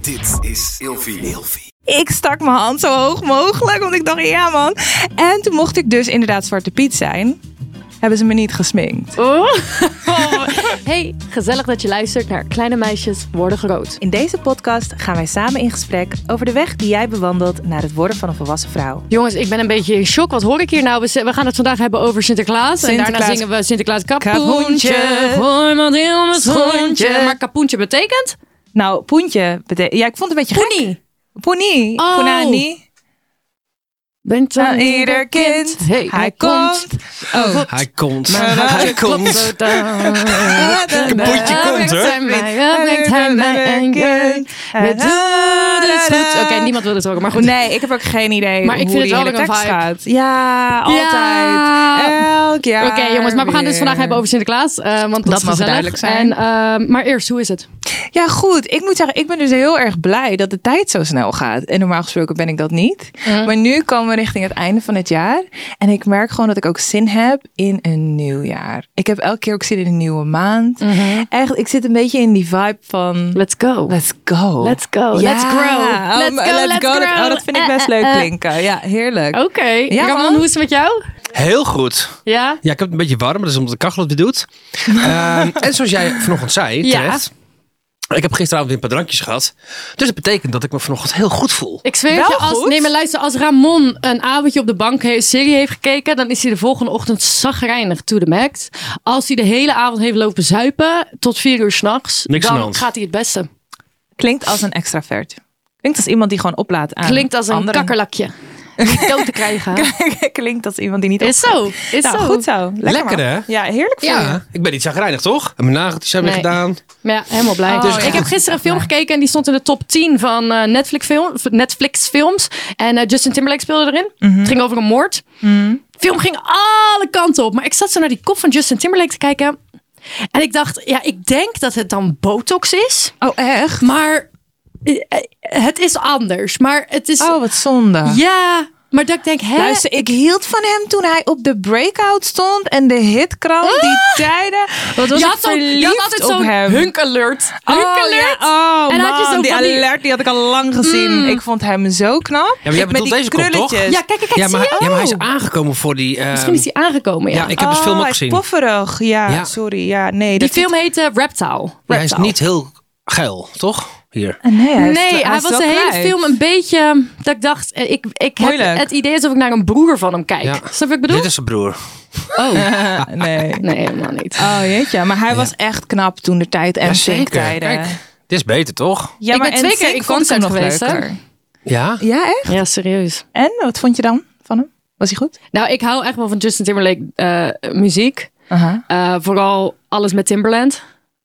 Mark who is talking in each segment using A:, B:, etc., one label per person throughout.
A: Dit is Ilfie. Ilfie.
B: Ik stak mijn hand zo hoog mogelijk, want ik dacht, ja man. En toen mocht ik dus inderdaad Zwarte Piet zijn. Hebben ze me niet gesminkt.
C: Oh. hey, gezellig dat je luistert naar Kleine Meisjes Worden Groot.
B: In deze podcast gaan wij samen in gesprek over de weg die jij bewandelt naar het worden van een volwassen vrouw.
C: Jongens, ik ben een beetje in shock. Wat hoor ik hier nou? We z- We gaan het vandaag hebben over Sinterklaas. En daarna
B: Sinterklaas.
C: zingen we Sinterklaas kapoentje.
B: Kapoentje.
C: Gooi maar deel met schoentje.
B: Schoentje.
C: Maar kapoentje betekent?
B: Nou, poentje. betekent. ja, ik vond het een beetje gek.
C: Poenie.
B: Poenie.
C: Oh.
B: Poenani.
C: Bent
B: Aan ieder kind.
C: Hey,
B: hij komt. Oh.
A: Hij komt.
B: Hij
A: komt.
C: Hij
A: komt,
C: brengt
A: hoor.
C: hij mij, hij brengt hij mij een kind. We doen het goed. Oké, niemand wil dit horen, maar goed.
B: Nee, ik heb ook geen idee
C: Maar ik
B: hoe
C: vind
B: die
C: het
B: hele
C: wel weer een
B: tekst
C: vibe.
B: gaat. Ja, altijd. Elk jaar.
C: Oké jongens, maar we gaan dus
B: weer.
C: vandaag hebben over Sinterklaas. eh, want dat,
B: Dat
C: is
B: mag
C: gezellig.
B: duidelijk zijn.
C: En, ehm, maar eerst, hoe is het?
B: Ja, goed. Ik moet zeggen, ik ben dus heel erg blij dat de tijd zo snel gaat. En normaal gesproken ben ik dat niet. Maar nu komen we richting het einde van het jaar. En ik merk gewoon dat ik ook zin heb in een nieuw jaar. Ik heb elke keer ook zin in een nieuwe maand.
C: Mhm.
B: Echt, ik zit een beetje in die vibe van...
C: Let's go.
B: Let's go.
C: Let's go. Let's grow.
B: Oh,
C: Let's go, let's
B: Dat-
C: grow.
B: oh, dat vind ik
C: Eh,
B: best
C: eh,
B: leuk
C: eh.
B: klinken. Ja, heerlijk.
C: Oké.
B: Ja,
C: Ramon,
B: man.
C: hoe is het met jou?
D: Heel goed.
C: Ja?
D: Ja, ik heb het een beetje warm, dat is omdat de kachel het weer doet. Ehm, en zoals jij vanochtend zei,
C: Ja.
D: terecht. Ik heb gisteravond weer een paar drankjes gehad. Dus dat betekent dat ik me vanochtend heel goed voel.
C: Ik zweer het
B: Wel
C: je, als,
B: goed.
C: nee, maar luister, als Ramon een avondje op de bank een serie heeft gekeken, dan is hij de volgende ochtend zagrijnig to the max. Als hij de hele avond heeft lopen zuipen tot vier uur s'nachts,
D: Niks aan de
C: dan
D: hand.
C: gaat hij het beste.
B: Klinkt als een extravert. Klinkt als iemand die gewoon oplaat aan
C: Klinkt als een
B: anderen.
C: kakkerlakje. Om dood te krijgen.
B: Klinkt als iemand die niet
C: Is zo. Is
B: Nou,
C: zo.
B: goed zo. Lekker,
D: Lekker,
B: man.
D: hè?
B: Ja, heerlijk voor je.
D: Ja, ik ben niet zagrijnig, toch? En mijn nageltjes hebben we
C: Nee.
D: gedaan.
C: Maar ja, helemaal blij.
B: Oh,
C: dus
B: ja.
C: Ik heb gisteren een film gekeken en die stond in de top 10 van eh, Netflix, film, Netflix films. En eh, Justin Timberlake speelde erin.
D: Mhm.
C: Het ging over een moord. De film ging alle kanten op. Maar ik zat zo naar die kop van Justin Timberlake te kijken. En ik dacht, ja, ik denk dat het dan botox is.
B: Oh, echt?
C: Maar eh, eh, het is anders. Maar het is...
B: Oh, wat zonde.
C: Ja, maar dat ik denk, hè?
B: Luister, ik hield van hem toen hij op de breakout stond en de hitkrant, die tijden. Wat was
C: je
B: ik
C: had, zo'n- je
B: verliefd
C: had altijd
B: op
C: zo'n
B: hem.
C: hunk alert. Hunk
B: Oh, ja.
C: alert.
B: oh
C: En
B: man,
C: dan had je zo
B: die
C: van die-
B: alert die had ik al lang gezien. Ik vond hem zo knap.
D: maar jij
B: Ik met
D: bedoelt
B: die
D: deze kop, toch?
B: krulletjes.
C: Ja, kijk, kijk, kijk.
D: Ja,
C: zie
D: maar,
C: je?
D: hij- ja, maar hij is aangekomen voor die... ehm,
C: Misschien is die aangekomen, ja.
D: ja, ik heb dus
B: Oh,
D: film ook
B: hij is
D: gezien.
B: Pofferig, ja,
D: Ja.
B: sorry. Ja, nee,
C: Die
B: dat
C: film heette Reptile.
D: Ja, hij is
C: Reptile.
D: niet heel geil, toch? Hier.
B: Nee, hij, is-
C: Nee, hij
B: is
C: was
B: wel
C: de hele
B: kwijt.
C: film een beetje... Dat ik dacht, eh, ik, ik heb
B: Moeilijk.
C: het idee alsof ik naar een broer van hem kijk.
D: Ja.
C: Snap je wat ik bedoel?
D: Dit is zijn broer.
B: nee.
C: Nee, helemaal niet.
B: Oh jeetje, maar hij was echt knap toen de tijd en Sync tijden.
D: Kijk, dit is beter, toch?
B: Ja,
C: Ik ben
B: en
C: twee keer
B: Sync
C: in
B: vond ik hem
C: concert
B: nog
C: geweest, hè?
B: leuker.
D: Ja?
B: Ja, echt?
C: Ja, serieus.
B: En wat vond je dan van hem? Was hij goed?
C: Nou, ik hou echt wel van Justin Timberlake eh, muziek.
B: Aha.
C: Eh, vooral alles met Timberland.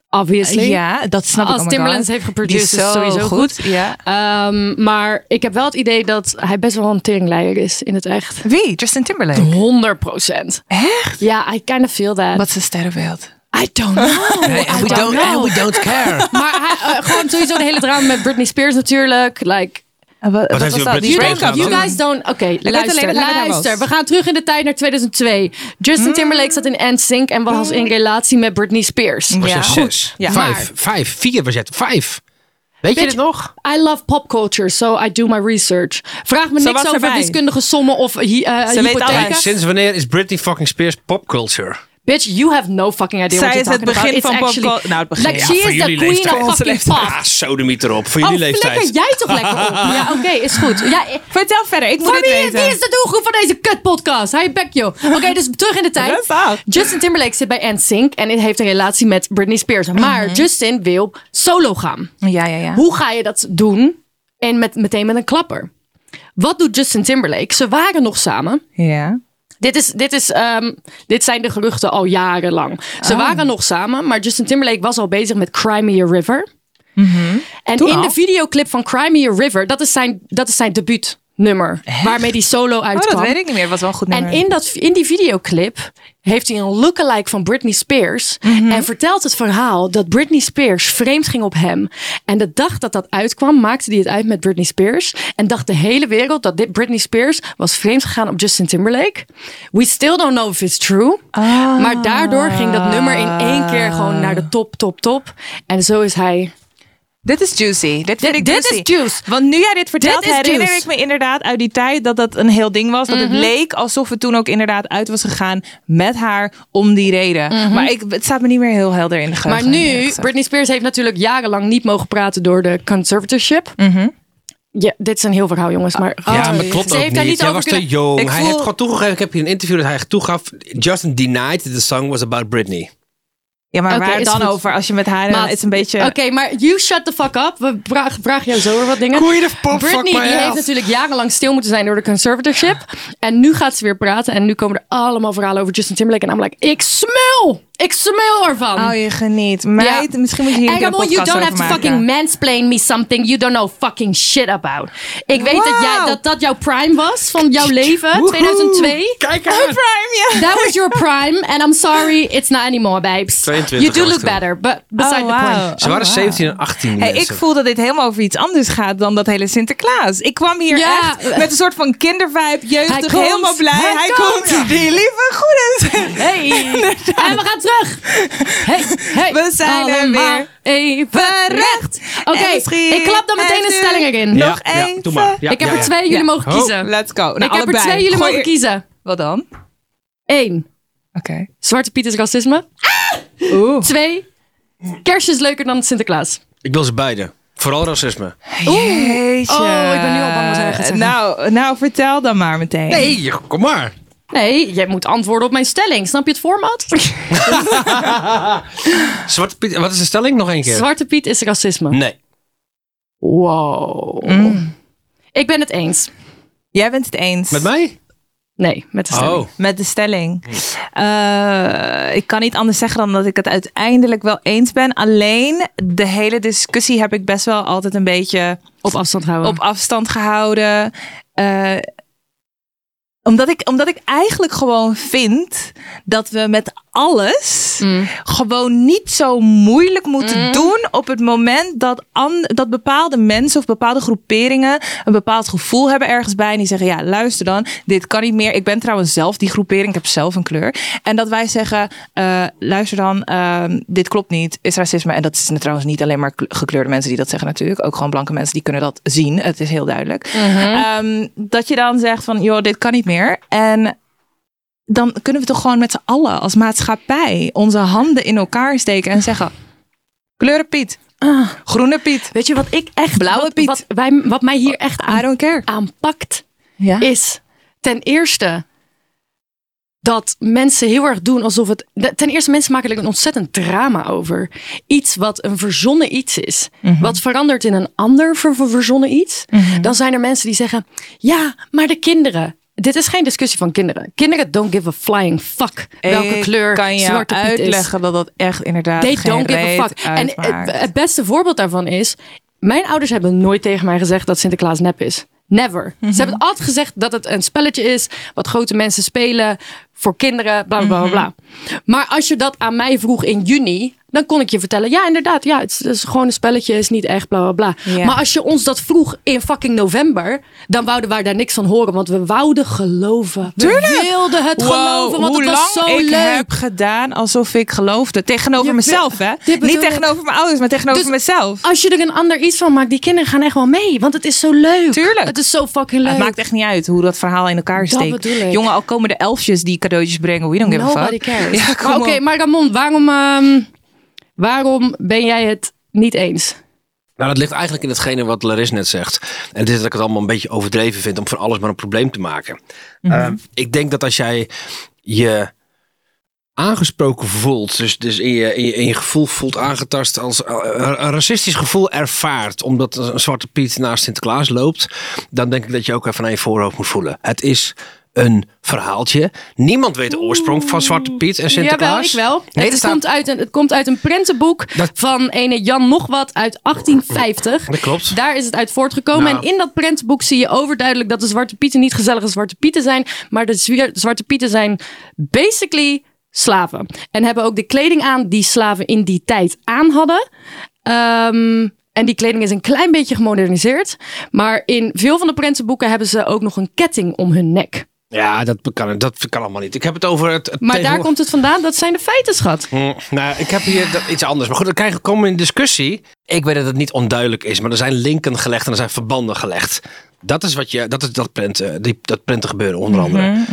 C: Obviously.
B: Ja, dat snap ik.
C: Als
B: oh my
C: Timberland
B: God.
C: heeft
B: Die
C: geproduceerd, is het sowieso goed.
B: Ja.
C: Ehm, maar ik heb wel het idee dat hij best wel een teringleier is in het echt.
B: Wie? Justin Timberlake.
C: 100 procent.
B: Echt? Eh,
C: Ja, I kind of feel that.
B: Wat zijn sterrenbeeld.
C: I don't know.
D: Nee,
C: I
D: and we
C: don't
D: don't,
C: know.
D: and we don't care.
C: Maar hij, eh, gewoon sowieso de hele drama met Britney Spears natuurlijk. Like,
B: Wat, wat
D: heeft hij
B: Die
D: met Britney
C: you,
D: Spears
B: break-up
C: don't, you
D: gedaan
B: toen?
C: guys don't... Oké, luister,
B: alleen dat hij daar
C: luister. We
B: was.
C: gaan terug in de tijd naar 2002. Justin Timberlake zat in NSYNC en was in relatie met Britney Spears.
D: Was jij
B: Ja.
D: zes?
B: Ja.
D: Vijf. Vijf. Vier was jij. Vijf. Weet je
C: Weet
D: dit
C: je-
D: nog?
C: I love pop culture, so I do my research. Vraag me
B: Ze
C: niks
B: was
C: over
B: erbij.
C: wiskundige sommen of hy- eh,
B: weet
C: hypotheken.
D: Hey, sinds wanneer is Britney fucking Spears popculture?
C: Bitch, you have no fucking idea what
B: Zij is
C: you're
B: het
C: talking
B: begin
C: about.
B: van
C: It's actually,
B: popcul- Nou, het begin,
C: Like,
B: ja,
C: she
D: voor
C: is the
D: jullie
C: queen
D: leeftijd.
C: of
B: Onze
C: fucking
B: leeftijd.
C: pop.
D: Ah, sodemiet erop. Voor
C: Oh,
D: jullie
C: flikker
D: leeftijd.
C: jij toch lekker op. Ja, oké, is goed. Ja, eh,
B: Vertel verder, ik moet
C: Van
B: het
C: wie,
B: weten.
C: wie is de doelgroep van deze kutpodcast? Hij bek joh. Oké, dus terug in de tijd.
B: Rem af.
C: Justin Timberlake zit bij NSYNC en heeft een relatie met Britney Spears. Maar Justin wil solo gaan.
B: Mhm. Ja, ja, ja.
C: Hoe ga je dat doen? En met, meteen met een klapper. Wat doet Justin Timberlake? Ze waren nog samen.
B: Ja.
C: Dit, is, dit, is, ehm, dit zijn de geruchten al jarenlang.
B: Oh.
C: Ze waren nog samen, maar Justin Timberlake was al bezig met Cry Me a River. En in
B: al?
C: de videoclip van Cry Me a River, dat is zijn, dat is zijn debuutnummer. Waarmee die solo
B: Oh,
C: uitkwam.
B: dat weet ik niet meer. Het was wel een goed
C: En
B: nummer.
C: in, dat, in die videoclip heeft hij een lookalike van Britney Spears.
B: Mhm.
C: En vertelt het verhaal dat Britney Spears vreemd ging op hem. En de dag dat dat uitkwam, maakte hij het uit met Britney Spears. En dacht de hele wereld dat dit Britney Spears was vreemd gegaan op Justin Timberlake. We still don't know if it's true.
B: Ah.
C: Maar daardoor ging dat nummer in één keer gewoon naar de top, top, top. En zo is hij
B: Dit is juicy. Dit, vind ik
C: dit
B: juicy.
C: is juice.
B: Want nu jij dit vertelt,
C: Dit is
B: herinner
C: juice. Mhm.
B: ik me inderdaad uit die tijd dat dat een heel ding was. Dat het leek alsof het toen ook inderdaad uit was gegaan met haar om die reden. Maar ik, het staat me niet meer heel helder in de
C: Mhm. Maar
B: geheugen.
C: nu, Britney Spears heeft natuurlijk jarenlang niet mogen praten door de conservatorship. Ja, dit is een heel verhaal, jongens. Maar,
D: Ah, ja, maar klopt
C: Mhm. Oh, Ze
D: ook
C: heeft
D: niet.
C: daar niet
D: Jij
C: over
D: was te
C: kunnen-
D: jong.
B: Ik
D: hij
B: voel-
D: heeft gewoon toegegeven. Ik heb hier een interview dat hij toegaf. Justin denied that the song was about Britney.
B: Ja, maar
C: Oké,
B: waar
C: is
B: dan
C: goed.
B: over? Als je met haar...
C: Maat,
B: het is een beetje...
C: Oké, maar you shut the fuck up. We vraag, vraag jou zo weer wat dingen.
D: Goeie de pop, fuck
C: Britney
D: my
C: die
D: ass.
C: heeft natuurlijk jarenlang stil moeten zijn door de conservatorship. En nu gaat ze weer praten. En nu komen er allemaal verhalen over Justin Timberlake. En I'm like, ik smul! Ik smul ervan!
D: Oh,
B: Hou Nou, je geniet. Meid,
C: Ja.
B: misschien moet je hier een keer een
C: Agamon,
B: podcast
C: you don't
B: over
C: have to
B: maken.
C: fucking mansplain me something you don't know fucking shit about. Ik weet dat, jij,
B: Wow.
C: dat dat jouw prime was van jouw leven, 2002.
D: Kijk aan.
B: Prime, ja.
C: That was your prime and I'm sorry, it's not anymore, babes.
D: 22
C: you do
D: was
C: look
D: toen.
C: better, but beside
B: Oh,
C: the point.
B: wauw.
D: Ze waren
B: Oh, wauw.
D: 17 en 18
B: Hey, ik
D: mensen.
B: voel dat dit helemaal over iets anders gaat dan dat hele Sinterklaas. Ik kwam hier
C: Ja.
B: echt met een soort van kindervibe,
C: Hij
B: jeugdig,
C: komt,
B: helemaal blij.
C: hij
B: Hij,
C: komt.
B: komt, die lieve goede.
C: Hey. En we gaan terug. Hey, hey.
B: We zijn er
C: Allemaal
B: weer.
C: Even recht. Oké,
B: En misschien
C: ik klap dan meteen een
B: heeft u-
C: stelling erin.
D: Ja,
B: nog
D: Ja, doe maar.
B: even.
D: Ja,
C: ik heb
D: ja,
C: er
D: ja.
C: twee, jullie
B: Ja.
C: mogen
D: Oh.
C: kiezen.
B: Let's go. Nou,
C: ik heb er
B: allebei.
C: twee, jullie
B: Gooi
C: mogen
B: er-
C: kiezen.
B: Wat dan?
C: Eén,
B: Oké.
C: Zwarte Piet is racisme.
B: Oeh.
C: Twee, Kerst is leuker dan Sinterklaas.
D: Ik wil ze beide. Vooral racisme.
B: Jeetje.
C: Oh, ik ben nu al bang wat hij gaat zeggen.
B: Nou, nou, vertel dan maar meteen.
D: Nee, kom maar.
C: Nee, jij moet antwoorden op mijn stelling. Snap je het format?
D: Zwarte Piet, wat is de stelling? Nog één keer.
C: Zwarte Piet is racisme.
D: Nee. Mm.
C: Wow. Ik ben het eens.
B: Jij bent het eens.
D: Met mij? Hm.
C: Nee, met de stelling.
D: Oh.
B: Met de stelling. Eh, ik kan niet anders zeggen dan dat ik het uiteindelijk wel eens ben. Alleen de hele discussie heb ik best wel altijd een beetje
C: Op afstand houden.
B: op afstand gehouden. Eh, omdat, ik, omdat ik eigenlijk gewoon vind dat we met alles
C: Hm.
B: gewoon niet zo moeilijk moeten doen op het moment dat, an- dat bepaalde mensen of bepaalde groeperingen een bepaald gevoel hebben ergens bij. En die zeggen, ja, luister dan, dit kan niet meer. Ik ben trouwens zelf die groepering, ik heb zelf een kleur. En dat wij zeggen, eh, luister dan, ehm, dit klopt niet, is racisme. En dat is trouwens niet alleen maar kle- gekleurde mensen die dat zeggen natuurlijk. Ook gewoon blanke mensen die kunnen dat zien. Het is heel duidelijk. Ehm, dat je dan zegt van, joh, dit kan niet meer. En dan kunnen we toch gewoon met z'n allen als maatschappij onze handen in elkaar steken en zeggen: Kleuren Piet,
C: Ah.
B: Groene Piet,
C: Weet je wat ik echt...
B: Blauwe
C: wat,
B: Piet.
C: Wat, wij, wat mij hier echt
B: I
C: aan,
B: don't care.
C: aanpakt,
B: Ja.
C: is ten eerste dat mensen heel erg doen alsof het... de- Ten eerste, mensen maken er een ontzettend drama over. Iets wat een verzonnen iets is.
B: Mhm.
C: Wat verandert in een ander ver- ver- verzonnen iets. Dan zijn er mensen die zeggen, ja, maar de kinderen... Dit is geen discussie van kinderen. Kinderen don't give a flying fuck welke
B: Ik
C: kleur
B: kan je
C: zwarte piet is.
B: uitleggen dat dat echt inderdaad
C: They
B: geen
C: don't give a fuck. En
B: En,
C: het, het beste voorbeeld daarvan is... Mijn ouders hebben nooit tegen mij gezegd dat Sinterklaas nep is. Never.
B: Mhm.
C: Ze hebben altijd gezegd dat het een spelletje is... wat grote mensen spelen voor kinderen, bla, bla, bla, bla.
B: Mhm.
C: Maar als je dat aan mij vroeg in juni... dan kon ik je vertellen... ja, inderdaad, ja, het is, het is gewoon een spelletje... is niet echt, bla, bla, bla.
B: Ja.
C: Maar als je ons dat vroeg in fucking november... dan wouden wij daar niks van horen... want we wouden geloven. We wilden het geloven, want
B: hoe
C: het was
B: lang
C: zo
B: ik
C: leuk.
B: heb gedaan alsof ik geloofde. Tegenover
C: Je
B: mezelf,
C: wil-
B: hè?
C: Dit bedoel
B: Niet
C: ik.
B: tegenover mijn ouders, maar tegenover
C: Dus-
B: mezelf.
C: Als je er een ander iets van maakt, die kinderen gaan echt wel mee. Want het is zo leuk.
B: Tuurlijk.
C: Het is zo fucking leuk.
B: Het maakt echt niet uit hoe dat verhaal in elkaar steekt.
C: bedoel ik.
B: Jongen, al komen de elfjes die cadeautjes brengen. We don't give a
C: Nobody
B: fuck.
C: cares.
B: Ja,
C: Maar
B: kom
C: Oké,
B: op.
C: maar Ramon, waarom, ehm, waarom ben jij het niet eens?
D: Nou, dat ligt eigenlijk in hetgene wat Laris net zegt. En het is dat ik het allemaal een beetje overdreven vind om van alles maar een probleem te maken.
C: Mhm.
D: Ehm, ik denk dat als jij je aangesproken voelt, dus, dus in, je, in, je, in je gevoel voelt aangetast, als eh, een racistisch gevoel ervaart, omdat een zwarte Piet naast Sinterklaas loopt, dan denk ik dat je ook even aan je voorhoofd moet voelen. Het is een verhaaltje. Niemand weet de oorsprong van Zwarte Piet en
C: Jawel, ik
D: Sinterklaas.
C: wel.
D: Nee,
C: het,
D: er staat-
C: komt uit een, het komt uit een prentenboek
D: Dat-
C: van ene Jan nog wat uit 1850.
D: Dat klopt.
C: Daar is het uit voortgekomen.
D: Nou.
C: En in dat prentenboek zie je overduidelijk dat de Zwarte Pieten niet gezellige Zwarte Pieten zijn. Maar de zwier- Zwarte Pieten zijn basically slaven. En hebben ook de kleding aan die slaven in die tijd aan hadden. Ehm, en die kleding is een klein beetje gemoderniseerd. Maar in veel van de prentenboeken hebben ze ook nog een ketting om hun nek.
D: Ja, dat kan, dat kan allemaal niet. Ik heb het over het.
C: Maar
D: het
C: daar
D: tegenwoordig-
C: komt het vandaan. Dat zijn de feiten, schat.
D: Mm, nou, ik heb hier dat- iets anders. Maar goed, dan krijgen, komen we in discussie. Ik weet dat het niet onduidelijk is, maar er zijn linken gelegd en er zijn verbanden gelegd. Dat is wat je, dat is dat print, eh, die, dat print gebeuren onder
B: Mhm,
D: andere.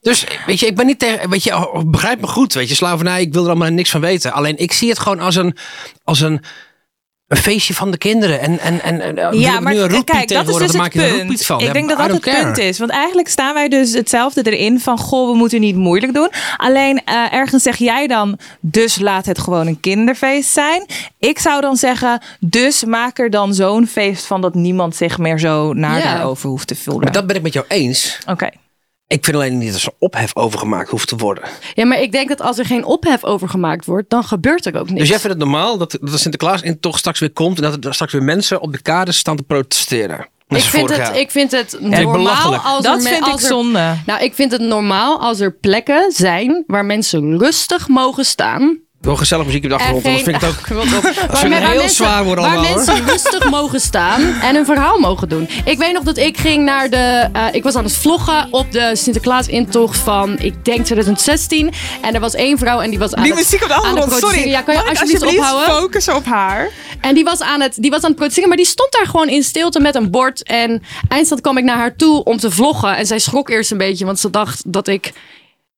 D: Dus weet je, ik ben niet tegen, weet je, oh, begrijp me goed, weet je, slavernij, ik wil er allemaal niks van weten. Alleen ik zie het gewoon als een, als een, een feestje van de kinderen. En, en, en, en eh, doe ik nu een roepiet tegenwoordig, dan maak je er een roepiet van.
B: dus Ik
D: Ja,
B: denk dat
D: I
B: dat het
D: don't care.
B: punt is. Want eigenlijk staan wij dus hetzelfde erin van... goh, we moeten niet moeilijk doen. Alleen eh, ergens zeg jij dan... dus laat het gewoon een kinderfeest zijn. Ik zou dan zeggen... dus maak er dan zo'n feest van... dat niemand zich meer zo naar
C: Ja.
B: daarover hoeft te voelen.
D: Maar dat ben ik met jou eens.
B: Oké.
D: Ik vind alleen niet dat er ophef over gemaakt hoeft te worden.
C: Ja, maar ik denk dat als er geen ophef over gemaakt wordt, dan gebeurt er ook niks.
D: Dus jij vindt het normaal dat, dat de Sinterklaas in toch straks weer komt en dat er straks weer mensen op de kades staan te protesteren? Net
C: ik,
D: als
C: vind
D: vorig
C: het,
D: jaar.
C: ik vind het
D: ik
C: normaal
D: belachelijk.
C: als er
B: Dat
C: me-
B: vind ik
C: als er-
B: zonde.
C: Nou, ik vind het normaal als er plekken zijn waar mensen rustig mogen staan.
D: Wel gezellig muziek op de
C: En
D: achtergrond,
C: geen-
D: anders vind ik het ook...
C: Waar, men-
D: vind het
C: waar
D: heel
C: mensen,
D: zwaar worden
C: waar
D: allemaal, hoor.
C: mensen rustig mogen staan en hun verhaal mogen doen. Ik weet nog dat ik ging naar de. eh, ik was aan het vloggen op de Sinterklaas-intocht van, ik denk 2016. En er was één vrouw en die was aan
B: Die
C: het-
B: muziek op de
C: aan het
B: achtergrond,
C: produceren.
B: sorry.
C: Ja, kan je
B: Mag ik
C: alsjeblieft ophouden?
B: focussen op haar?
C: En die was aan het, die was aan het protesteren, maar die stond daar gewoon in stilte met een bord. En eindstand kwam ik naar haar toe om te vloggen. En zij schrok eerst een beetje, want ze dacht dat ik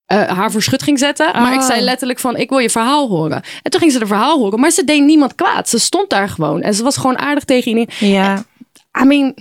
C: eh, haar voor schut ging zetten. Maar ik zei letterlijk van, ik wil je verhaal horen. En toen ging ze de verhaal horen, maar ze deed niemand kwaad. Ze stond daar gewoon en ze was gewoon aardig tegen iedereen.
B: Ja.
C: I mean,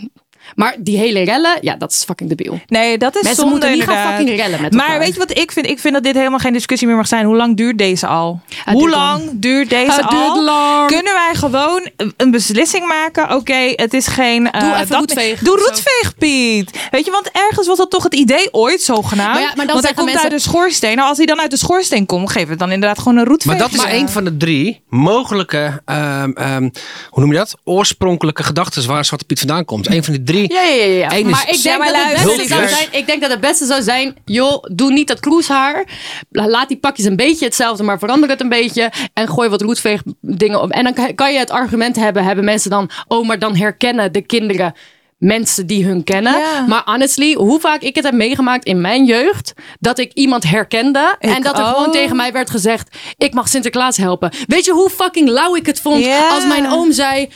C: maar die hele rellen, ja, dat is fucking debiel.
B: Nee, dat is
C: Mensen
B: zonde
C: moeten niet gaan
B: inderdaad.
C: fucking rellen met
B: Maar
C: elkaar.
B: weet je wat ik vind? Ik vind dat dit helemaal geen discussie meer mag zijn. Hoe lang duurt deze al?
C: Het
B: Hoe
C: Ah, duurt
B: lang duurt deze
C: Het
B: al?
C: duurt lang.
B: Kunnen wij gewoon een beslissing maken? Oké, het is geen... eh,
C: Doe even
B: dat-
C: roetveeg
B: Doe
C: of zo.
B: roetveeg, Piet. Weet je, want ergens was dat toch het idee ooit zogenaamd.
C: Maar ja, maar dan
B: want hij
C: zeggen
B: komt
C: mensen-
B: uit de schoorsteen. Nou, als hij dan uit de schoorsteen komt, geef het dan inderdaad gewoon een roetveeg.
D: Maar dat is één van de drie mogelijke, ehm, ehm, hoe noem je dat? Oorspronkelijke gedachten waar Zwarte Piet vandaan komt. Eén van die drie.
C: Ja, ja, ja. ja.
D: Eén is-
C: maar ik
D: Zeg
C: denk,
B: maar,
C: dat het
B: luister,
C: beste zou
D: lieverd.
C: zijn, ik denk dat het beste zou zijn, joh, doe niet dat kroeshaar. Laat die pakjes een beetje hetzelfde, maar verander het een beetje. En gooi wat roetveeg dingen op. En dan kan- kan je het argument hebben, hebben mensen dan, oh, maar dan herkennen de kinderen mensen die hun kennen.
B: Ja.
C: Maar honestly, hoe vaak ik het heb meegemaakt in mijn jeugd, dat ik iemand herkende en
B: Ik
C: dat er gewoon
B: ook.
C: tegen mij werd gezegd, ik mag Sinterklaas helpen. Weet je hoe fucking lauw ik het vond
B: Ja.
C: als mijn oom zei,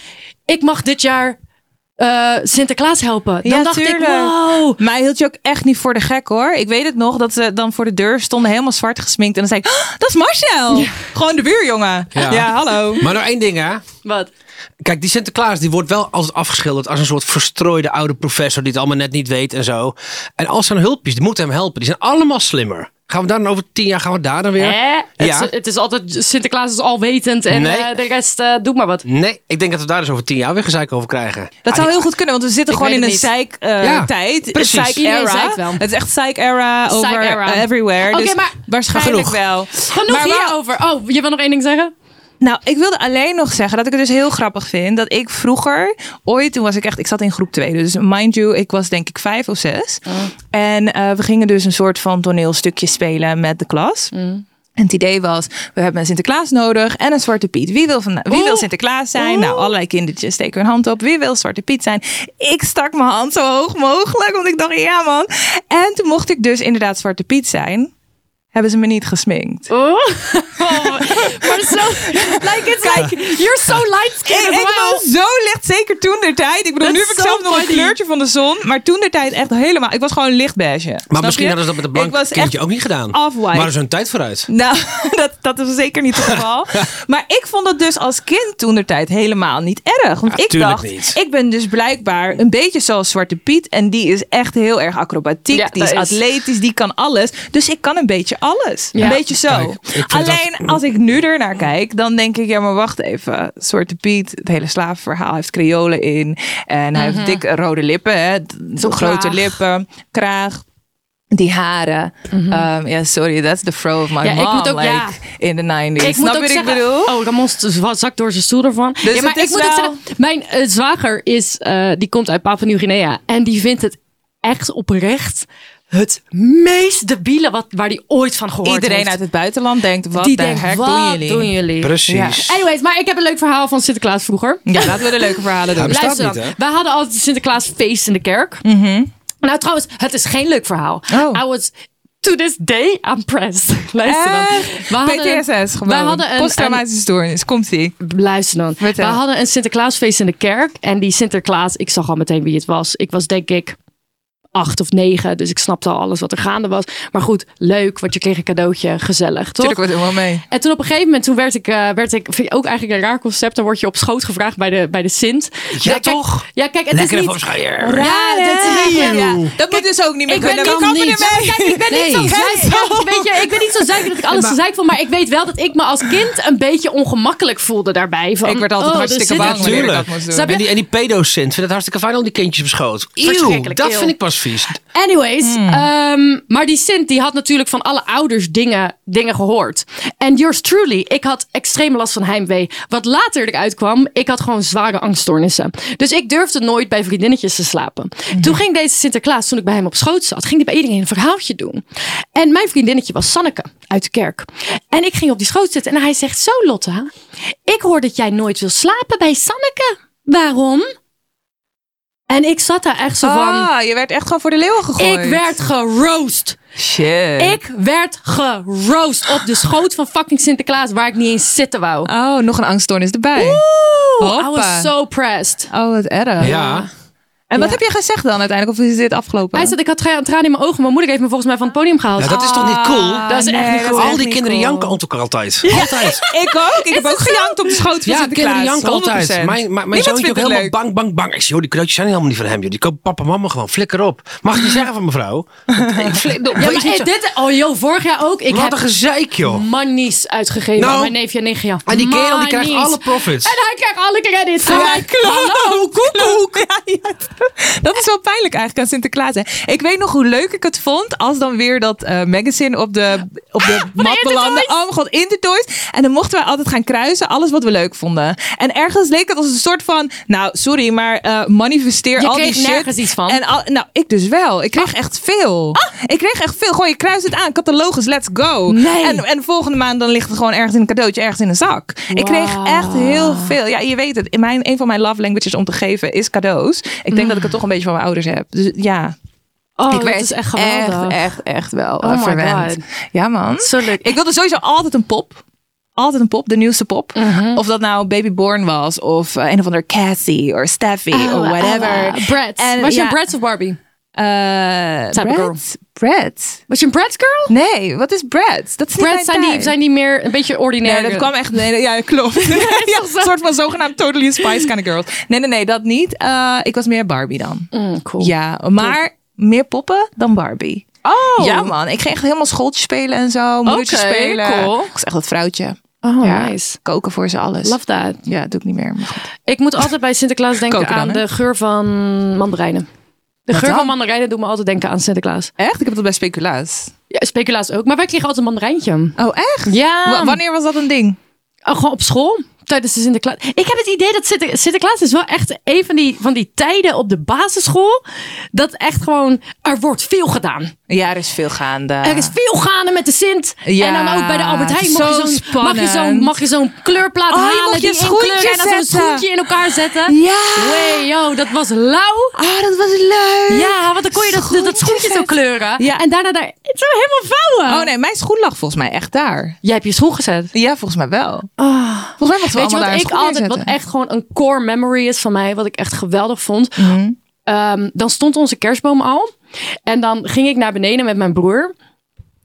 C: ik mag dit jaar eh, Sinterklaas helpen. Dan dacht ik, wow.
B: Mij hield je ook echt niet voor de gek hoor. Ik weet het nog, dat ze dan voor de deur stonden helemaal zwart gesminkt. En dan zei ik, "Oh, dat is Marcel. Gewoon de buurjongen. Ja,
D: Ja.
C: Ah,
B: hallo.
D: Maar nog één ding hè.
C: Wat?
D: Kijk, die Sinterklaas die wordt wel altijd afgeschilderd als een soort verstrooide oude professor die het allemaal net niet weet en zo. En al zijn hulpjes, die moeten hem helpen. Die zijn allemaal slimmer. Gaan we daar dan over tien jaar, gaan we daar dan weer? Ja.
C: Het, is, het is altijd, Sinterklaas is alwetend en
D: Nee.
C: eh, de rest eh doet maar wat.
D: Nee, ik denk dat we daar dus over tien jaar weer gezeik over krijgen.
B: Dat zou
D: Ah,
B: heel goed kunnen, want we zitten
C: Ik
B: gewoon in
C: weet
B: een
C: het
B: psych eh,
D: Ja,
B: tijd.
D: precies.
B: Psych
C: Iedereen
B: era.
C: zeikt wel.
B: Het is echt psych era over
C: Psych era.
B: eh, everywhere.
C: Oké,
B: dus
C: maar-
B: waarschijnlijk
D: Maar genoeg.
B: wel.
C: Genoeg
B: Maar waar-
C: hierover. Oh, je wil nog één ding zeggen?
B: Nou, ik wilde alleen nog zeggen dat ik het dus heel grappig vind. Dat ik vroeger, ooit, toen was ik echt, ik zat in groep 2. Dus mind you, ik was denk ik vijf of zes. En eh, we gingen dus een soort van toneelstukje spelen met de klas. En het idee was, we hebben een Sinterklaas nodig en een Zwarte Piet. Wie wil, van, wie wil Sinterklaas zijn? Nou, allerlei kindertjes steken hun hand op. Wie wil Zwarte Piet zijn? Ik stak mijn hand zo hoog mogelijk, want ik dacht, ja man. En toen mocht ik dus inderdaad Zwarte Piet zijn. Hebben ze me niet gesminkt.
C: Oh. maar zo, like it's like, you're so light
B: Ik,
C: skinned
B: ik was zo licht, zeker toen der tijd. Ik bedoel,
C: Dat
B: nu
C: is
B: heb ik
C: zo
B: zelf nog een
C: funny.
B: kleurtje van de zon. Maar toen der tijd echt helemaal. Ik was gewoon een lichtbeige.
D: Maar misschien hadden ze dat met een blank kindje ook niet gedaan.
B: off-white.
D: Maar er is hun tijd vooruit.
B: Nou, dat, dat is zeker niet het geval. maar ik vond dat dus als kind toen der tijd helemaal niet erg. Want
D: Ja,
B: ik
D: tuurlijk
B: dacht,
D: niet.
B: ik ben dus blijkbaar een beetje zoals Zwarte Piet. En die is echt heel erg acrobatiek.
C: Ja,
B: die is,
C: dat is-
B: atletisch, die kan alles. Dus ik kan een beetje alles.
C: Ja.
B: Een beetje zo.
D: Kijk, ik vind
B: Alleen als ik nu ernaar kijk, dan denk ik, ja maar wacht even. Zwarte Piet, het hele slavenverhaal, hij heeft kreolen in. En hij
C: Mhm.
B: heeft dikke rode lippen, hè. D- grote
C: kraag.
B: lippen, kraag. Die haren. Um, ja, sorry, that's the fro of my
C: Mhm. Ja, ik
B: mom.
C: moet ook-
B: like,
C: ja.
B: in de 90s.
C: Ik
B: Snap
C: moet
B: je
C: ook
B: wat ik
C: zeggen,
B: bedoel?
C: oh, Ramon zakt door zijn stoel ervan.
B: Dus
C: ja, maar
B: het
C: ik
B: is
C: moet ook
B: wel-
C: zeggen, mijn eh, zwager is, eh, die komt uit Papua Nieuw-Guinea en die vindt het echt oprecht het meest debiele wat, waar die ooit van gehoord
B: Iedereen
C: heeft.
B: uit het buitenland denkt, wat
C: oh, die
B: de
C: denkt,
B: heck
C: wat
B: doen jullie?
D: Precies.
C: Anyways, maar ik heb een leuk verhaal van Sinterklaas vroeger.
B: Ja, laten we de leuke verhalen doen.
D: Ja, bestaat
C: Luister
D: niet,
C: dan. Wij hadden altijd Sinterklaas feest in de kerk. Nou, trouwens, het is geen leuk verhaal.
B: Mhm. Oh.
C: I was... To this day, I'm pressed. Luister dan.
B: Echt?
C: We hadden een-
B: PTSS gewoon.
C: we hadden een-
B: Posttraumatische stoornis. Komt ie.
C: Luister dan.
B: Vertel.
C: We hadden een Sinterklaasfeest in de kerk. En die Sinterklaas, ik zag al meteen wie het was. Ik was denk ik acht of negen. Dus ik snapte al alles wat er gaande was. Maar goed, leuk, want je kreeg een cadeautje. Gezellig, toch?
B: Tuurlijk wordt het helemaal mee.
C: En toen op een gegeven moment, toen werd ik, eh, werd ik vind ik ook eigenlijk een raar concept. Dan word je op schoot gevraagd bij de, bij de Sint.
D: Ja,
C: kijk-
D: toch?
C: Ja, kijk, het
D: Lekker
C: is
D: even
C: niet...
D: op schuier.
C: Ja,
B: hè?
C: dat is lekker, ja.
B: Dat moet dus ook niet meer
C: Ik ben
B: kunnen. We
C: niet-
B: kappen
C: niet.
B: ermee.
C: Ik ben niet zo zeik. Ja, Weet je, ik ben niet zo zeik dat ik alles te zeik vond. Maar ik weet wel dat ik me als kind een beetje ongemakkelijk voelde daarbij. Van,
B: Ik werd altijd
C: oh,
B: hartstikke
C: er zit-
B: bang wanneer ik dat
D: Tuurlijk.
B: moest doen.
C: Snap je?
D: En die, en die pedo-Sint vindt het hartstikke fijn om die kindjes op schoot. Eeuw,
C: Verschrikkelijk,
D: dat
C: eeuw.
D: vind ik pas vies.
C: Anyways, ehm, maar die Sint die had natuurlijk van alle ouders dingen, dingen gehoord. En yours truly, ik had extreem last van heimwee. Wat later eruit kwam, ik had gewoon zware angststoornissen. Dus ik durfde nooit bij vriendinnetjes te slapen. Toen ging deze Sinterklaas, toen ik bij hem op schoot zat, ging hij bij iedereen een verhaaltje doen. En mijn vriendinnetje was Sanneke uit de kerk. En ik ging op die schoot zitten en hij zegt, zo Lotta, ik hoor dat jij nooit wil slapen bij Sanneke. Waarom? En ik zat daar echt zo van...
B: Ah, je werd echt gewoon voor de leeuwen gegooid.
C: Ik werd geroost.
B: Shit.
C: Ik werd geroost op de schoot van fucking Sinterklaas waar ik niet eens zitten wou.
B: Oh, nog een angststoornis erbij.
C: I
B: hoppa.
C: was so pressed.
B: Oh, wat erg.
D: Ja.
B: En wat
C: Ja.
B: heb je gezegd dan uiteindelijk? Of is dit afgelopen?
C: Hij zat, ik had tra- tranen in mijn ogen. Mijn moeder heeft me volgens mij van het podium gehaald.
D: Nou, dat is toch niet cool?
C: Dat is echt
B: Ah,
C: niet cool.
B: dat is
D: Al
B: echt
D: die
B: niet
D: kinderen
B: cool.
D: janken op elkaar altijd. Altijd.
B: Ik ook. Ik heb ook gejankt op de schoot van
D: Ja, kinderen
B: Sinterklaas.
D: janken
B: 100%.
D: altijd. Mijn, mijn, mijn
B: Niemand
D: zoontje ook
B: vindt het
D: helemaal
B: leuk.
D: bang, bang, bang. Ik zeg, joh, die cadeautjes zijn helemaal niet van hem. Joh. Die koopt papa en mama gewoon. Flikker op. Mag ik je zeggen van mevrouw? ik flip,
C: Ja, maar eh, dit, oh joh, vorig jaar ook. Ik
D: Wat een
C: heb
D: gezeik, joh.
C: manies uitgegeven
D: Nou.
C: aan mijn neefje en nichtje.
D: En die kerel die krijgt
C: Manies.
D: alle profits.
C: En hij krijgt alle credits.
B: Ja,
C: En hij-
B: klopt. Ja, ja. Dat is wel pijnlijk eigenlijk aan Sinterklaas. Hè. Ik weet nog hoe leuk ik het vond als dan weer dat eh, magazine op de, op de mat belandde. Oh mijn god, Intertoys. En dan mochten wij altijd gaan kruisen, alles wat we leuk vonden. En ergens leek het als een soort van, nou sorry, maar eh, manifesteer
C: Je
B: al
C: kreeg
B: die shit.
C: nergens iets van. Ah.
B: En al- nou, ik dus wel. Ik kreeg echt veel. Ik kreeg echt veel. Gewoon, je kruist het aan. Catalogus, let's go.
C: Nee.
B: En, en de volgende maand dan ligt het gewoon ergens in een cadeautje, ergens in een zak. Ik kreeg echt heel veel. Ja, je weet het. In mijn, een van mijn love languages om te geven is cadeaus. Ik denk dat ik het toch een beetje van mijn ouders heb. Dus ja,
C: Mm. Oh,
B: ik
C: dat is echt
B: Echt,
C: geweldig.
B: echt, echt wel eh,
C: Oh my
B: verwend.
C: God.
B: Ja, man.
C: Zo leuk.
B: Ik wilde sowieso altijd een pop. Altijd een pop, de nieuwste pop.
C: Uh-huh.
B: Of dat nou Baby Born was, of eh, een of ander Cassie, of Steffi,
C: Oh,
B: of whatever.
C: oh, Brad.
B: En,
C: Was je
B: ja,
C: een Brad of Barbie?
B: eh,
C: Type
B: Brad?
C: girl.
B: Brad?
C: Was je een Brad girl?
B: Nee, wat is Brad? Dat is niet
C: Brad
B: mijn
C: zijn die,
B: tijd.
C: zijn die meer een beetje ordinair.
B: Nee, dat kwam echt. Nee, nee, ja, klopt. ja, een soort van zogenaamd totally spice kind of girls. Nee, nee, nee, dat niet. Eh, ik was meer Barbie dan.
C: Mm, cool.
B: Ja, maar meer poppen dan Barbie.
C: Oh.
B: Ja, man. Ik ging echt helemaal schooltje spelen en zo. Moedertje
C: Oké,
B: spelen.
C: cool.
B: Ik was echt dat vrouwtje.
C: Oh,
B: ja,
C: nice.
B: Koken voor ze alles.
C: Love that.
B: Ja, dat doe ik niet meer. Maar goed.
C: Ik moet altijd bij Sinterklaas denken
B: Koken dan,
C: aan
B: hè?
C: de geur van mandarijnen. De geur
B: dan?
C: van mandarijnen doet me altijd denken aan Sinterklaas.
B: Echt? Ik heb dat bij speculaas.
C: Ja, speculaas ook. Maar wij kregen altijd een mandarijntje.
B: Oh, echt?
C: Ja.
B: Wa- wanneer was dat een ding?
C: Oh, gewoon op school. Tijdens de Sinterklaas. Ik heb het idee dat Sinter- Sinterklaas is wel echt een van die, van die tijden op de basisschool. Dat echt gewoon, er wordt veel gedaan.
B: Ja, er is veel gaande.
C: Er is veel gaande met de Sint.
B: Ah. Ja,
C: en dan ook bij de Albert Heijn mag
B: zo
C: je zo'n, mag je zo'n,
B: spannend.
C: mag je zo'n kleurplaat
B: Oh, je
C: halen.
B: mocht je
C: die
B: schoentje
C: inkleuren en dan zo'n
B: zetten.
C: schoentje in elkaar zetten.
B: Ja.
C: Wee, yo, dat was lauw.
B: Ah, dat was leuk.
C: Ja, want dan kon je dat, dat, dat schoentje zo kleuren.
B: Ja.
C: En daarna daar, het zou helemaal vouwen.
B: Oh nee, mijn schoen lag volgens mij echt daar.
C: Jij hebt je schoen gezet.
B: Ja, volgens mij wel. Volgens mij mochten we
C: Weet je
B: allemaal daar een schoen
C: wat ik altijd, wat
B: neerzetten.
C: echt gewoon een core memory is van mij, wat ik echt geweldig vond.
B: Mhm.
C: Ehm, dan stond onze kerstboom al. En dan ging ik naar beneden met mijn broer.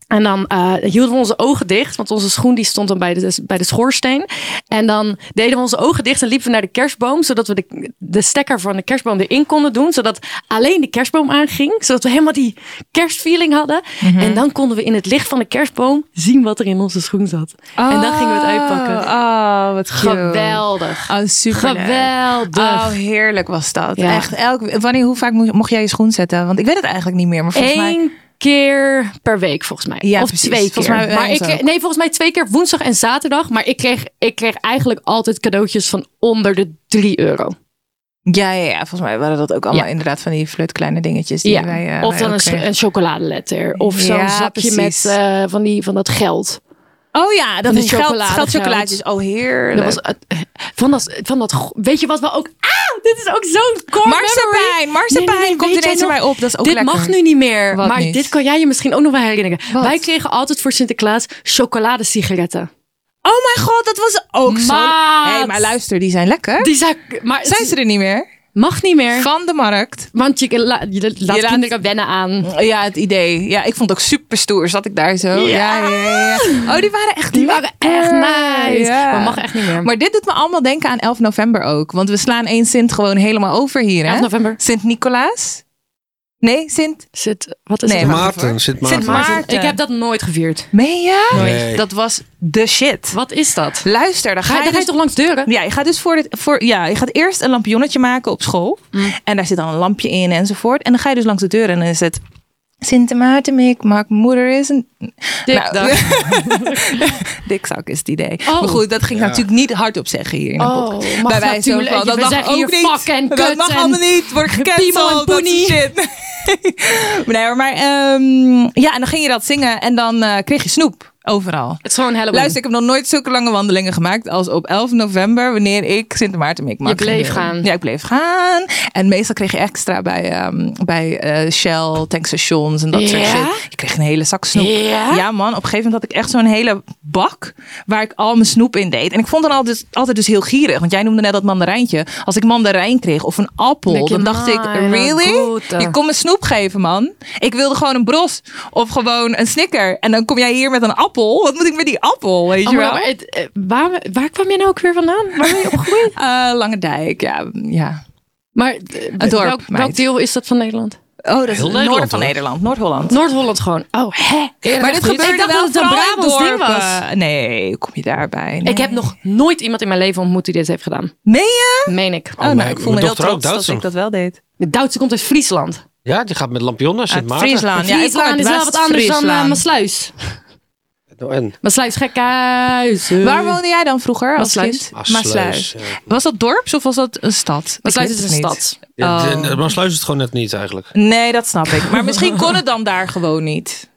C: En dan eh, hielden we onze ogen dicht, want onze schoen die stond dan bij de, bij de schoorsteen. En dan deden we onze ogen dicht en liepen we naar de kerstboom, zodat we de, de stekker van de kerstboom erin konden doen. Zodat alleen de kerstboom aanging, zodat we helemaal die kerstfeeling hadden.
B: Mhm.
C: En dan konden we in het licht van de kerstboom zien wat er in onze schoen zat. en dan gingen we het uitpakken.
B: Oh, wat cute.
C: Geweldig.
B: Oh, super.
C: Geweldig.
B: Oh, heerlijk was dat.
C: Ja.
B: Echt, elk, wanneer, hoe vaak moest- mocht jij je schoen zetten? Want ik weet het eigenlijk niet meer, maar volgens mij...
C: Eén keer per week volgens mij.
B: Ja,
C: of
B: precies.
C: twee keer.
B: Volgens mij bij
C: maar
B: ons
C: ik, kreeg-
B: ook.
C: nee, volgens mij twee keer woensdag en zaterdag. Maar ik kreeg, ik kreeg eigenlijk altijd cadeautjes van onder de 3 euro.
B: Ja, ja, ja, volgens mij waren dat ook allemaal
C: Ja.
B: inderdaad van die flut kleine dingetjes die wij... eh,
C: of
B: wij
C: dan
B: ook
C: een, sch-
B: kregen.
C: een chocoladeletter. Of zo'n
B: Ja,
C: zakje
B: precies.
C: met eh, van, die, van dat geld.
B: Oh ja, dat
C: Met
B: is geld,
C: chocoladegeld.
B: geldchocolaatjes. Oh, heerlijk.
C: Dat was, eh, van, dat, van dat. go- Weet je wat we ook. Ah, dit is ook zo'n core Oh, memory.
B: Marsepein, marsepein
C: Nee, nee, nee,
B: komt
C: weet
B: ineens
C: jij
B: bij op. Dat is ook
C: dit
B: lekker.
C: mag nu niet meer.
B: Wat
C: maar
B: niet?
C: dit kan jij je misschien ook nog wel herinneren.
B: Wat?
C: Wij kregen altijd voor Sinterklaas chocoladesigaretten.
B: Oh mijn god, dat was ook zo.
C: Maat.
B: Hey, maar luister, die zijn lekker.
C: Die zijn, maar het
B: zijn ze er niet meer?
C: mag niet meer.
B: Van de markt.
C: Want je, la, je laat
B: laat-
C: kinderen wennen aan.
B: Ja, het idee. Ja, ik vond het ook super stoer. Zat ik daar zo?
C: Ja.
B: ja, ja, ja. Oh, die waren echt
C: Die waren echt
B: lekker.
C: nice.
B: Ja.
C: Maar mag echt niet meer.
B: Maar dit doet me allemaal denken aan 11 november ook. Want we slaan één Sint gewoon helemaal over hier. Hè?
C: 11 november.
B: Sint-Nicolaas? Nee, Sint...
C: Zit, wat is
B: Nee,
C: het?
B: wacht
D: Maarten, Sint Maarten.
B: Sint Maarten.
C: Ik heb dat nooit gevierd.
B: Meen je?
D: Nee.
B: Dat was de shit.
C: Wat is dat?
B: Luister, dan ga,
C: Ga,
B: je
C: dan ga je
B: dus-
C: toch langs deuren?
B: Ja, je gaat dus voor, dit, voor ja, je gaat eerst een lampionnetje maken op school.
C: Mm.
B: En daar zit dan een lampje in enzovoort. En dan ga je dus langs de deur en dan is het. Sint Maarten, Mick, Mark, moeder is een.
C: Dikdak.
B: Dikzak Nou, is het idee.
C: Oh.
B: Maar goed, dat ging ik natuurlijk niet hardop zeggen hier in de
C: Oh,
B: podcast.
C: mag
B: Bij wijze
C: natuurlijk.
B: van, dat
C: We
B: mag
C: zeggen
B: ook
C: hier
B: niet.
C: fuck en
B: dat
C: kut
B: mag
C: en
B: allemaal niet. Word
C: piemel en
B: gecanceld. Dat
C: poenie.
B: soort shit. nee, maar ehm, ja, en dan ging je dat zingen en dan eh, kreeg je snoep overal.
C: Het is gewoon Halloween.
B: Luister, ik heb nog nooit zulke lange wandelingen gemaakt als op 11 november, wanneer ik Sint Maarten mee
C: Je bleef gaan.
B: Ja, ik bleef gaan. En meestal kreeg je extra bij, ehm, bij eh, Shell, tankstations en dat soort
C: Ja?
B: shit. Ik kreeg een hele zak snoep.
C: Ja?
B: man, op een gegeven moment had ik echt zo'n hele bak waar ik al mijn snoep in deed. En ik vond dan altijd, altijd dus heel gierig, want jij noemde net dat mandarijntje. Als ik mandarijn kreeg of een appel,
C: Denk je,
B: dan dacht ik,
C: "Mijn
B: really?
C: goede."
B: Je kon me snoep geven, man. Ik wilde gewoon een bros of gewoon een snicker. En dan kom jij hier met een appel. Wat moet ik met die appel, weet
C: Oh,
B: je
C: maar
B: wel?
C: het- eh, waar, waar kwam jij nou ook weer vandaan? Waar ben je opgegroeid?
B: Eh, Lange Dijk, ja. ja.
C: Maar eh,
B: Een dorp,
C: welk, welk
B: meid.
C: deel is dat van Nederland?
B: Oh, dat is het
D: Nederland,
B: noorden van
D: hoor.
B: Nederland, Noord-Holland.
C: Noord-Holland gewoon. Oh, hè?
B: maar dit gebeurde
C: ik dacht
B: wel
C: dat het een
B: vooral in
C: Brabants ding
B: dorpen.
C: was.
B: Nee, hoe kom je daarbij? Nee.
C: Ik heb nog nooit iemand in mijn leven ontmoet die dit heeft gedaan.
B: Meen je?
C: Meen ik.
B: Oh, nou,
D: mijn-
B: ik voel me
D: mijn
B: heel
D: dochter ook,
B: trots dat
D: Duitser.
B: ik dat wel deed.
C: De Duitse komt uit Friesland.
D: Ja, die gaat met lampionnen naar Sint
B: Uit
D: Maarten.
B: Friesland. Ah, Ja, ik kom
C: Friesland
B: uit
C: is wel wat anders dan eh,
B: West-Friesland.
C: mijn Maassluis.
D: Nou, en
C: Maassluis gekhuis. eh.
B: Waar woonde jij dan vroeger als
C: Maassluis.
B: kind?
D: Maassluis,
B: Maassluis.
D: ja.
B: Was dat dorps of was dat een stad?
C: Maassluis
B: Ik
C: is
B: weet
C: een
B: het niet.
C: stad.
B: Oh.
D: Ja, de- de- Maar sluis het gewoon net niet eigenlijk.
B: Nee, dat snap ik. Maar misschien kon het dan daar gewoon niet.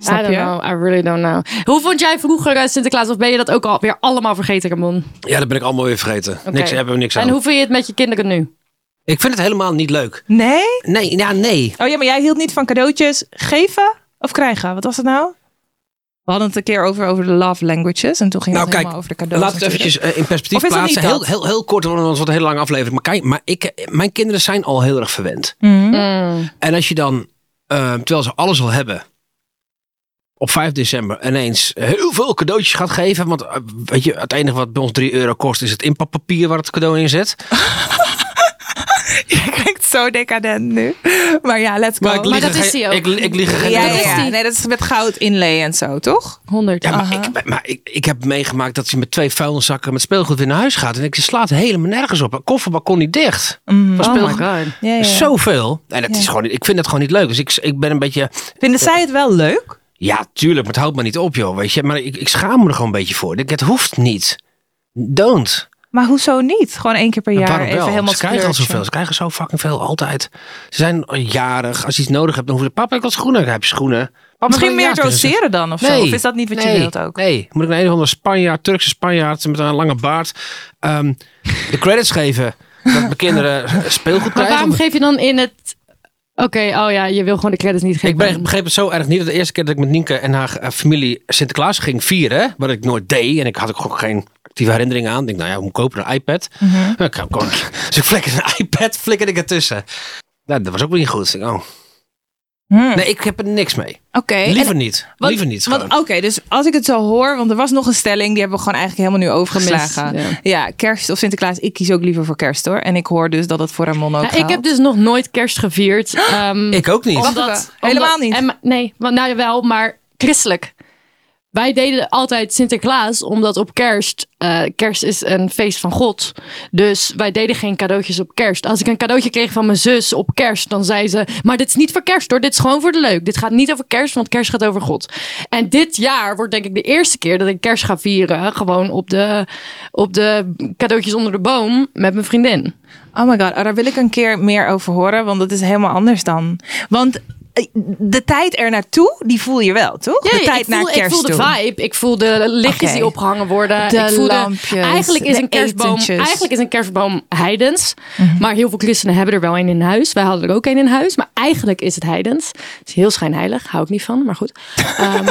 C: I
B: Snap
C: don't
B: je?
C: know. I really don't know. Hoe vond jij vroeger eh, Sinterklaas? Of ben je dat ook alweer allemaal vergeten, Ramon?
D: Ja, dat ben ik allemaal weer vergeten. Niks, hebben we niks aan.
C: En hoe vind je het met je kinderen nu?
D: Ik vind het helemaal niet leuk.
B: Nee?
D: Nee, ja, nee.
B: Oh ja, maar jij hield niet van cadeautjes geven of krijgen. Wat was het nou? We hadden het een keer over, over de love languages. En toen ging
D: Nou,
B: het
D: kijk,
B: helemaal over de cadeaus.
D: laat het
B: natuurlijk.
D: eventjes eh, in perspectief
B: Of is dat
D: plaatsen.
B: niet
D: Heel,
B: dat?
D: heel, heel kort, want het wordt een hele lange aflevering. Maar kijk, maar ik, eh, mijn kinderen zijn al heel erg verwend.
B: Mhm.
C: Mm.
D: En als je dan, eh, terwijl ze alles al hebben, op 5 december ineens heel veel cadeautjes gaat geven. Want eh, weet je, het enige wat bij ons 3 euro kost, is het inpakpapier waar het cadeau in zit.
B: Je kijkt zo decadent nu. Maar ja, let's go.
D: lieg
C: dat
D: er
C: is
D: geen-
C: hij ook.
D: Ik, ik lieg er geen
B: ja,
D: euro
B: ja,
D: voor.
B: ja. Nee, dat is met goud inlay en zo, toch?
C: 100.
D: Ja, maar, ik, maar ik, ik heb meegemaakt dat ze met twee vuilniszakken met speelgoed weer naar huis gaat. En ik, ze slaat helemaal nergens op. Een kofferbak kon niet dicht.
B: Mm.
D: Van
C: Oh my
D: speelgoed.
C: god.
B: Ja, ja.
D: Zoveel. En dat is gewoon, ik vind het gewoon niet leuk. Dus ik, ik ben een beetje...
B: Vinden zij het wel leuk?
D: Ja, tuurlijk, maar het houdt me niet op, joh. Weet je? Maar ik, ik schaam me er gewoon een beetje voor. Ik, het hoeft niet. Don't.
B: Maar hoezo niet? Gewoon één keer per jaar
D: Waarom
B: even
D: wel?
B: helemaal
D: ze krijgen al
B: splurgen.
D: zoveel. Ze krijgen zo fucking veel, altijd. Ze zijn jarig. Als je iets nodig hebt, dan hoef je... Papa, ik wil schoenen. Dan heb je schoenen. Papa,
B: Misschien
D: ik wil
B: meer
D: een jaartje.
B: doseren dan of zo? Of is dat niet wat
D: nee,
B: je wilt ook?
D: Nee, moet ik naar een of andere Spanjaard, Turkse Spanjaard met een lange baard ehm, de credits geven dat mijn kinderen speelgoed
C: Maar
D: krijgen.
C: waarom geef je dan in het... Oké, oh ja, je wil gewoon de credits niet geven.
D: Ik ben- begreep het zo erg niet dat de eerste keer dat ik met Nienke en haar eh, familie Sinterklaas ging vieren, wat ik nooit deed en ik had ook geen actieve herinneringen aan. Ik denk, nou ja, hoe kopen we een iPad?
B: Mhm.
D: Nou, ik ga gewoon- dus ik flikkerde een iPad, flikkerde ik ertussen. Nou, dat was ook niet goed. Ik denk, oh.
B: Hmm.
D: Nee, ik heb er niks mee.
B: Oké. en-
D: Liever niet.
B: Want-
D: Liever niet.
B: want-
D: gewoon.
B: Oké, dus als ik het zo hoor, want er was nog een stelling, die hebben we gewoon eigenlijk helemaal nu overgeslagen.
C: Gemist,
B: ja. kerst of Sinterklaas, ik kies ook liever voor kerst hoor. En ik hoor dus dat het voor Ramon ook
C: Ja, ik heb dus nog nooit kerst gevierd. ehm,
D: ik ook niet.
B: Wacht
C: omdat-
B: even, helemaal niet.
C: en- nee, want- nou wel, maar christelijk. Wij deden altijd Sinterklaas, omdat op kerst, eh, kerst is een feest van God. Dus wij deden geen cadeautjes op kerst. Als ik een cadeautje kreeg van mijn zus op kerst, dan zei ze, maar dit is niet voor kerst hoor, dit is gewoon voor de leuk. Dit gaat niet over kerst, want kerst gaat over God. En dit jaar wordt denk ik de eerste keer dat ik kerst ga vieren, gewoon op de, op de cadeautjes onder de boom met mijn vriendin.
B: Oh my god, oh, daar wil ik een keer meer over horen, want dat is helemaal anders dan. Want eh, de tijd er naartoe, die voel je wel, toch?
C: Ja,
B: de tijd
C: ik voel,
B: naar kerst
C: ik voel de
B: toe.
C: vibe. Ik voel de lichtjes
B: Oké.
C: die opgehangen worden.
B: De
C: ik voel
B: lampjes,
C: eigenlijk, is
B: de
C: een kerstboom,
B: etentjes. Mhm.
C: eigenlijk is een kerstboom heidens. Maar heel veel christenen hebben er wel een in huis. Wij hadden er ook een in huis. Maar eigenlijk is het heidens. Het is heel schijnheilig. Hou ik niet van, maar goed. Ehm,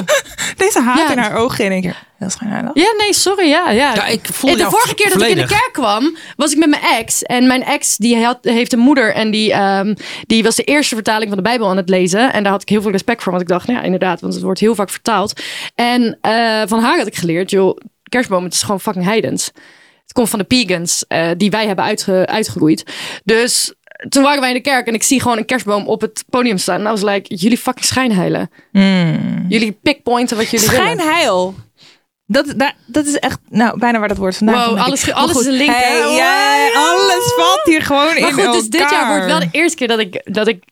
B: Deze haat
C: Ja.
B: in haar ogen. En ik denk, dat is geen heilig.
C: ja, nee, sorry. Ja, ja.
D: Ja, ik voel
C: En de
D: jou
C: vorige keer dat ik in de
D: volledig.
C: kerk kwam, was ik met mijn ex. En mijn ex die had, heeft een moeder en die, ehm, die was de eerste vertaling van de Bijbel aan het lezen. En daar had ik heel veel respect voor, want ik dacht, nou ja, inderdaad, want het wordt heel vaak vertaald. En eh, van haar had ik geleerd, joh, kerstboom, het is gewoon fucking heidens. Het komt van de pagans, eh, die wij hebben uitge- uitgeroeid. Dus toen waren wij in de kerk en ik zie gewoon een kerstboom op het podium staan. En I was like, jullie fucking schijnheilen.
B: Mm.
C: Jullie pickpointen wat jullie willen.
B: Schijnheil. Dat, daar, dat is echt nou, bijna waar dat woord vandaan
C: Wow,
B: komt, denk ik.
C: alles-
B: Maar
C: alles
B: goed,
C: is een link, hè?
B: hey,
C: Wow.
B: ja, alles valt hier gewoon in
C: Maar goed, dus dit jaar
B: elkaar.
C: wordt wel de eerste keer dat ik, dat ik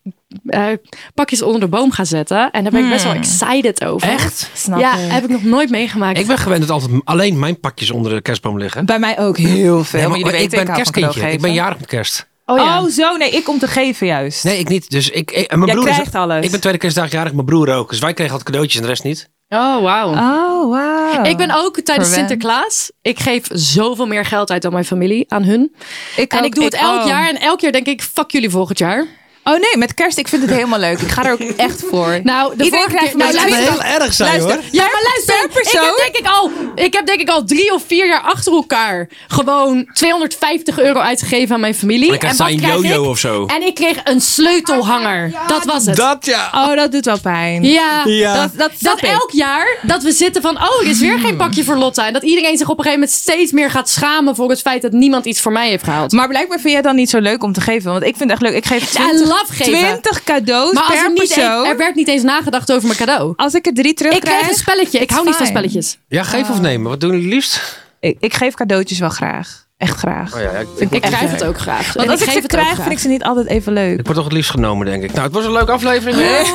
C: eh, pakjes onder de boom ga zetten. En daar ben ik best wel excited over.
D: Echt?
B: Snap
C: ja,
B: ik.
C: heb ik nog nooit meegemaakt.
D: Ik ben gewend dat altijd m- alleen mijn pakjes onder de kerstboom liggen.
B: Bij mij ook heel veel.
D: Nee,
B: maar,
D: maar,
B: jullie
D: maar ik
B: weten, hou
D: ben
B: van
D: kerstkindje. Ik
B: cadeau
D: ben
B: geven.
D: jarig met kerst.
C: oh ja.
B: Oh, zo. Nee, ik om te geven juist.
D: Nee, ik niet. Dus ik, ik- en mijn
B: Jij
D: broer is-
B: krijgt alles.
D: Ik ben tweede kerstdag jarig, mijn broer ook. Dus wij kregen altijd cadeautjes en de rest niet.
C: Oh, wauw.
B: Oh, wow.
C: Ik ben ook tijdens
B: Verwend.
C: Sinterklaas. Ik geef zoveel meer geld uit dan mijn familie aan hun.
B: Ik
C: en
B: ook,
C: ik doe het
B: ik oh.
C: elk
B: ook.
C: jaar. En elk jaar denk ik, fuck jullie volgend jaar.
B: Oh nee, met kerst. Ik vind het helemaal leuk. Ik ga er ook echt voor.
C: Nou, de
B: Iedereen
C: vorige
B: krijgt
C: keer...
B: van mij
C: Nou,
B: zo'n
C: luister.
B: Nee.
D: erg zijn
B: Luister,
C: Ja, maar luister.
B: per persoon?
C: Ik heb, denk ik, al, ik heb denk ik al drie of vier jaar achter elkaar gewoon 250 euro uitgegeven aan mijn familie.
D: Dan krijgt
C: en
D: zij
C: wat
D: een
C: krijg
D: jojo
C: ik?
D: of zo.
C: En ik kreeg een sleutelhanger. Dat was het.
D: Dat ja.
B: Oh, dat doet wel pijn.
C: ja.
D: Ja.
B: Dat, dat, snap
C: Dat
B: ik. Hmm.
C: elk jaar dat we zitten van, oh, er is weer geen pakje voor Lotta. En dat iedereen zich op een gegeven moment steeds meer gaat schamen voor het feit dat niemand iets voor mij heeft gehaald.
B: Maar blijkbaar vind jij het dan niet zo leuk om te geven. Want ik vind het echt leuk. Ik geef
C: Ja,
B: 20,
C: love geven.
B: 20 cadeaus
C: Maar als
B: per
C: er, niet
B: persoon.
C: een- er werd niet eens nagedacht over mijn cadeau.
B: Als ik er drie terug
C: Ik
B: krijg,
C: kreeg een spelletje. Ik
B: it's
C: hou niet van
B: fine.
C: spelletjes.
D: Ja, geef
C: Oh.
D: of nemen. Wat doen jullie het liefst?
B: Ik, ik geef cadeautjes wel graag. Echt graag.
D: Oh ja, ja, ik, ik,
C: Ik
D: word-
C: krijg het ook graag.
B: Want
C: En
B: als ik,
C: geef
B: ze
C: het ook
B: krijg,
C: graag.
B: vind ik ze niet altijd even leuk.
D: ik word toch het liefst genomen, denk ik. Nou, het was een leuke aflevering.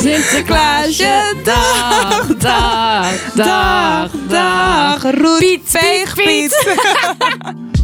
B: Sinterklaasje,
C: dag, dag, dag, dag.
B: dag. Roet,
C: Piet,
B: veeg,
C: Piet, Piet.
B: Piet.